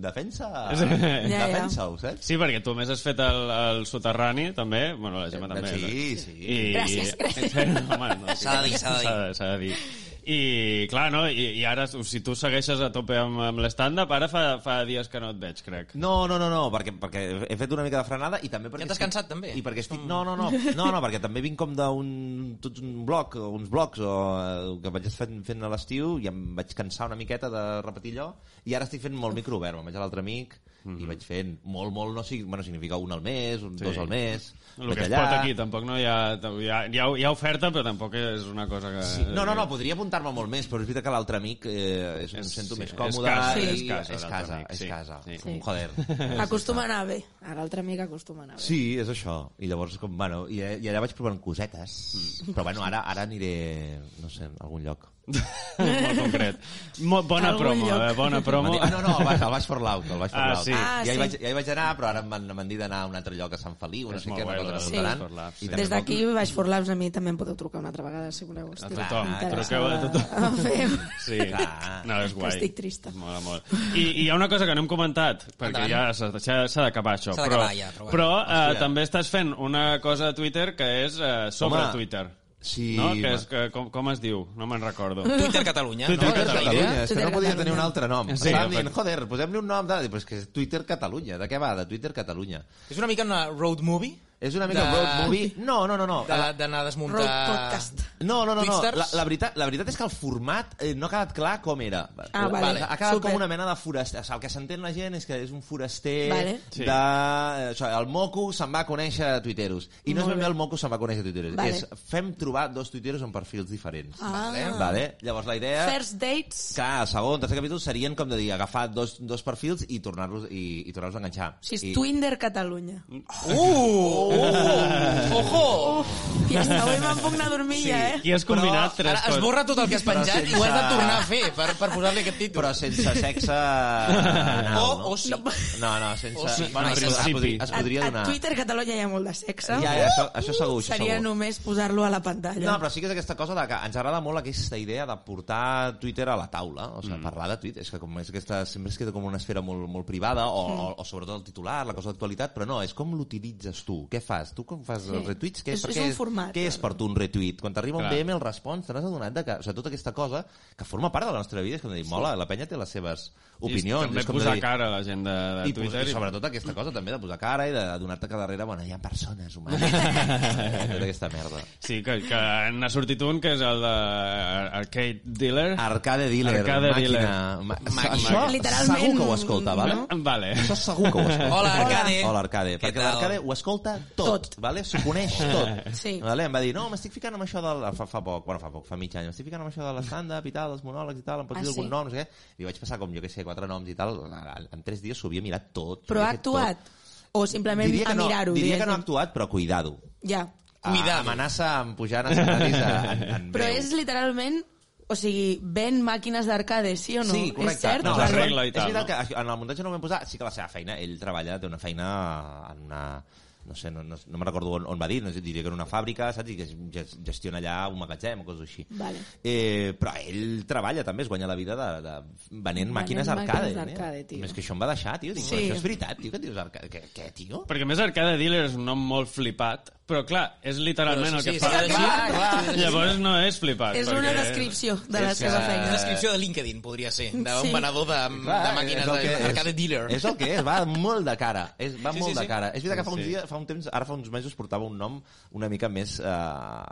defensa... Sí. Ja, ja. Defensa-ho, saps? Sí, perquè tu a més has fet el, el soterrani, també. Bueno, la Gemma també. eh? Sí, sí. I... Gràcies, gràcies. Home, no, S'ha de dir, s'ha de dir. S'ha de dir. I, clar, no? I, i ara, o si tu segueixes a tope amb, amb l'estàndard, ara fa, fa dies que no et veig, crec. No, no, no, no, perquè, perquè he fet una mica de frenada i també perquè... Ja t'has estic- cansat, també? I perquè estic... No, no, no, no, no perquè també vinc com d'un... Tots un bloc, o uns blocs, o eh, que vaig fent, fent a l'estiu i em vaig cansar una miqueta de repetir allò i ara estic fent molt microobert, me'n vaig a l'altre amic i vaig fent molt, molt, no sigui, bueno, significa un al mes, un, Mhm. Sí. dos al mes, El vaig que es porta aquí tampoc no hi ha... Hi ha, hi ha, hi ha oferta, però tampoc és una cosa que... Sí. No, no, no, podria apuntar-me molt més, però és veritat que l'altre amic eh, és, em És- sento sí, més és còmode. casa, i- és casa, és l'altre casa, amic, és sí, casa. sí. Joder. Acostuma a anar bé. A l'altra amiga acostumen a veure. Sí, és això. I llavors, com, bueno, i, i allà vaig provant cosetes. Mm. Però bueno, ara, ara aniré, no sé, a algun lloc. Molt concret. Molt bona Algun promo, lloc. eh? Bona promo. Ah, no, no, al Baix, al Baix Forlaut. Al Baix Ah, Forlaut. sí. Ah, ja, sí. hi vaig, ja hi vaig anar, però ara em van, em van dir d'anar a un altre lloc a Sant Feliu, no És sé molt què, una guai, cosa el que Baix m'estaran. Forlaut, sí. I també Des d'aquí, vol- Baix for Labs, a mi també em podeu trucar una altra vegada, si voleu. Estic tothom, interessada truqueu a tothom. a fer-ho. Sí. Clar. No, és Que guai. estic trista. Mola molt. I, I hi ha una cosa que no hem comentat, perquè Endavant. ja s'ha s'ha- s'ha d'acabar això. S'ha però d'acabar ja, però bueno. però eh, Hòstia. també estàs fent una cosa a Twitter que és eh, sobre Home, Twitter. sí, No? Que ma- és, que, com, com es diu? No me'n recordo. Twitter Catalunya, Twitter no? És la Catalunya. idea? Catalunya, és que Twitter no podia Catalunya. tenir un altre nom. Sí, Sí, Estaven dient, però- joder, posem-li un nom, de... pues que és Twitter Catalunya. De què va? De Twitter Catalunya. És una mica una road movie? És una mica de- road movie. No, no, no, no. de- D'anar a desmuntar... Road podcast. No, no, no, no. Twitsters? La, la, veritat, la veritat és que el format eh, no ha quedat clar com era. Ah, vale. Ha quedat Super. com una mena de foraster. O sigui, el que s'entén la gent és que és un foraster Vale. Sí. de... eh, Això, el moco se'n va conèixer a tuiteros. I no és Molt ben bé. bé el moco se'n va conèixer a tuiteros. Vale. És fem trobar dos tuiteros amb perfils diferents. Ah. Vale? Llavors la idea... First dates... Clar, segon, tercer capítol serien com de dir agafar dos, dos perfils i tornar-los i, i tornar-los a enganxar. O sigui, és I, Mm. Twinder Catalunya. Uh! Ojo! Uf, ja està, avui me'n puc anar a dormir ja, eh? I has combinat Però tres ara esborra tot el que has penjat Però i ho has de sense- tornar a fer per, per posar-li aquest títol. però sense sexe anal, O- no? o sí. No, no, sense... O sí. Bueno, En es, es, principi. podria, es podria a, donar. a Twitter Catalunya hi ha molt de sexe. Ja, ja, això, això segur, això Seria segur. només posar-lo a la pantalla. No, però sí que és aquesta cosa de que ens agrada molt aquesta idea de portar Twitter a la taula, o sigui, mm. parlar de Twitter, és que com és aquesta, sempre es queda com una esfera molt, molt privada, o, mm. o, o sobretot el titular, la cosa d'actualitat, però no, és com l'utilitzes tu, què fas? Tu com fas sí. els retuits? Què És- per és què un format, Què eh? és per tu un retuit? Quan t'arriba un Clar. DM el respons, te n'has adonat de que, o sigui, tota aquesta cosa que forma part de la nostra vida, és com de dir, mola, la penya té les seves opinions. També és com de posar dir, cara a la gent de, de i, Twitter. Twitter, i sobretot aquesta cosa també de posar cara i de donar-te que darrere bueno, hi ha persones humanes tota aquesta merda Sí, que, que n'ha sortit un, que és el de Arcade Dealer. Arcade Dealer, Arcade màquina. Dealer. Ma Màquina. Això Literalment, segur que ho escolta, vale? no? No? Vale. Això segur que ho escolta. Hola, Arcade. Hola, Arcade. Què Perquè tal? l'Arcade ho escolta tot, Tot. vale? s'ho coneix tot. Sí. Vale? Em va dir, no, m'estic ficant amb això del... Fa, fa poc, bueno, fa poc, fa mig any. M'estic ficant amb això de l'estàndard i tal, dels monòlegs i tal, em pots Ah, dir algun sí? nom, no sé què. Li vaig passar com, jo què sé, quatre noms i tal. En- En tres dies s'ho havia mirat tot. Però s'ho ha havia fet tot. actuat? O simplement Diria a que no, mirar-ho? diria que no ha diguéssim? actuat, però cuidado. Ja. Cuidado. Ah, amenaça amb pujar en escenaris en, en Però breu. és literalment... O sigui, ven màquines d'arcade, sí o no? Sí, correcte. És cert? No, la Vale. regla i tal, És veritat que en el muntatge no ho vam posar, sí que la seva feina, ell treballa, té una feina en una no sé, no, no, no me'n recordo on, on va dir, no sé, diria que en una fàbrica, saps? I que ges- gestiona allà un magatzem o coses així. Vale. Eh, però ell treballa també, es guanya la vida de, de venent màquines arcade. eh? màquines arcade, tio. Més que això em va deixar, tio. Dic, Sí. sí. Això és veritat, tio, que dius arcade. Què, què tio? Perquè a més Arcade Dealer és un nom molt flipat, però clar, és literalment Però el sí, que sí, fa. sí, clar, clar. Llavors no és flipat. És una perquè- descripció de la és seva que- feina. Una descripció de LinkedIn, podria ser, d'un Sí. venedor de, de màquines és el que és. d'arcade dealer. És el que és, va molt de cara. És, va Sí, sí, sí, molt sí, sí. de cara. És veritat que fa, uns Sí. dies, fa un temps, ara fa uns mesos, portava un nom una mica més eh,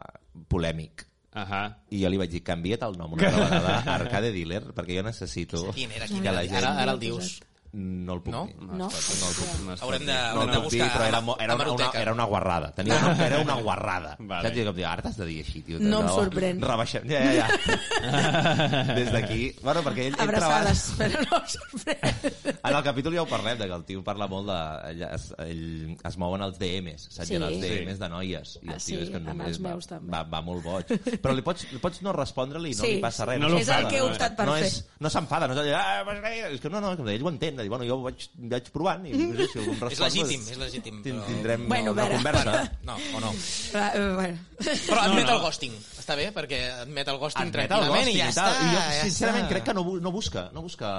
polèmic. Ahà. I jo li vaig dir, canvia't el nom una altra vegada a Arcade Dealer, perquè jo necessito... Quin era, quin que era? la gent... Ara, ara el dius. No el puc No? Ah, dir. No. No el puc dir. Haurem de, No, haurem no, de no, sí, buscar però era, mo- era, una, una, hemeroteca. era una guarrada. Tenia una, era una guarrada. Vale. Vale. Saps? I com, dic, ara t'has de dir així, tio. No em Llavors, sorprèn. Rebaixem. Ja, ja, ja. Des d'aquí... Bueno, perquè ell, ell treballa... Abraçades, però no us sorprèn. En el capítol ja ho parlem, de que el tio parla molt de... Ell es, ell es mouen els DMs, saps? Sí. Sí. Els DMs de noies. I Ah, el tio sí, és que amb només els meus va, també. va, va molt boig. Però li pots, li pots no respondre-li i no Sí. li passa res. No l'ofega, És s'enfada, el que he no, optat per no fer. És, no s'enfada, no és allò... "Ah, pues, eh", És que no, no, com ell ho entén. De dir, bueno, jo ho vaig, vaig provant i no sé, si algú em respon... És legítim, és legítim. Tin- Però... Tindrem Bueno, una, a veure. una conversa. No, o no. Va, eh, bueno. Però admet no. el ghosting. Està bé, perquè admet el ghosting Admet el tranquil·lament ghosting i ja i tal. està. I jo, ja sincerament, està. crec que no, bu- no busca, no busca...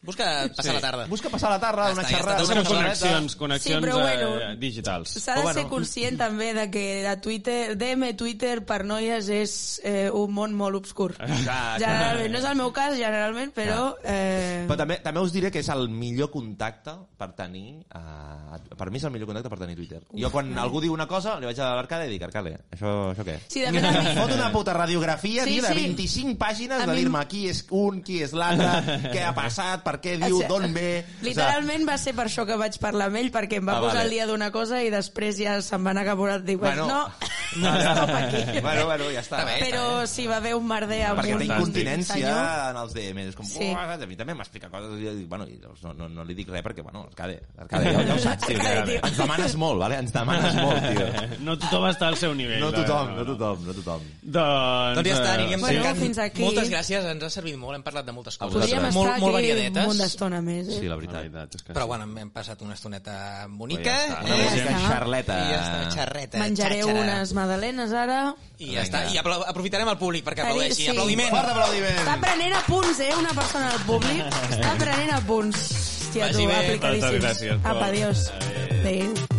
Busca passar la tarda. Busca passar la tarda, Ja una està, ja xerrada, està, una Són busca xerrada... connexions, connexions Sí, però eh, bueno. digitals. S'ha de Però ser bueno. mm. conscient també de que de Twitter, DM Twitter per noies és eh, un món molt obscur. Ah, Generalment, no és el meu cas, generalment, però... Eh, Però també, també us diré que és el millor contacte per tenir... Uh, per mi és el millor contacte per tenir Twitter. jo quan algú diu una cosa, li vaig a l'Arcade i dic, Arcade, això, això què? sí, de fet, a mi, Fot una puta radiografia Sí, sí, de sí. 25 pàgines A de mi- dir-me qui és un, qui és l'altre, què ha passat, per què diu, Exacte. d'on ve... literalment va ser per això que vac parlar amb ell, perquè em va Ah, posar vale. el dia d'una cosa i després ja se'm va anar cap a una altra. Dic, Bueno. bueno, no, bueno, bueno, ja està. Està bé. Però si va haver un merder amb perquè un té incontinència senyor, en els DMs. És com, Sí. sí. a mi també m'explica coses i jo dic, bueno, i llavors no, no, no li dic res perquè, bueno, Arcade, Arcade, ja, ja ho saps, tio. Arcade, que tio. ens demanes molt, vale? ens demanes molt, tio. Eh, No tothom està al seu nivell. No va, tothom, no tothom, no tothom. Doncs, Doncs ja està, eh, aniríem Bueno, tancant. fins aquí. Moltes gràcies, ens ha servit molt, hem parlat de moltes coses. Podríem estar molt, molt aquí un munt variadetes. d'estona més, eh? Sí, la La veritat. veritat és que Però sí. bueno, hem- hem passat una estoneta bonica. Ja està. Una eh? música està. xarleta. I ja està, xarreta, Menjaré xàxara. unes magdalenes ara. I ja està, i aplau- aprofitarem el públic perquè Carí- aplaudeixi. sí. Aplaudiment! Fort aplaudiment! Està prenent apunts, eh? Una persona del públic està prenent apunts. Hòstia, Vagi tu, bé. aplicadíssims. Moltes gràcies, Pol. Apa, adiós. Adéu.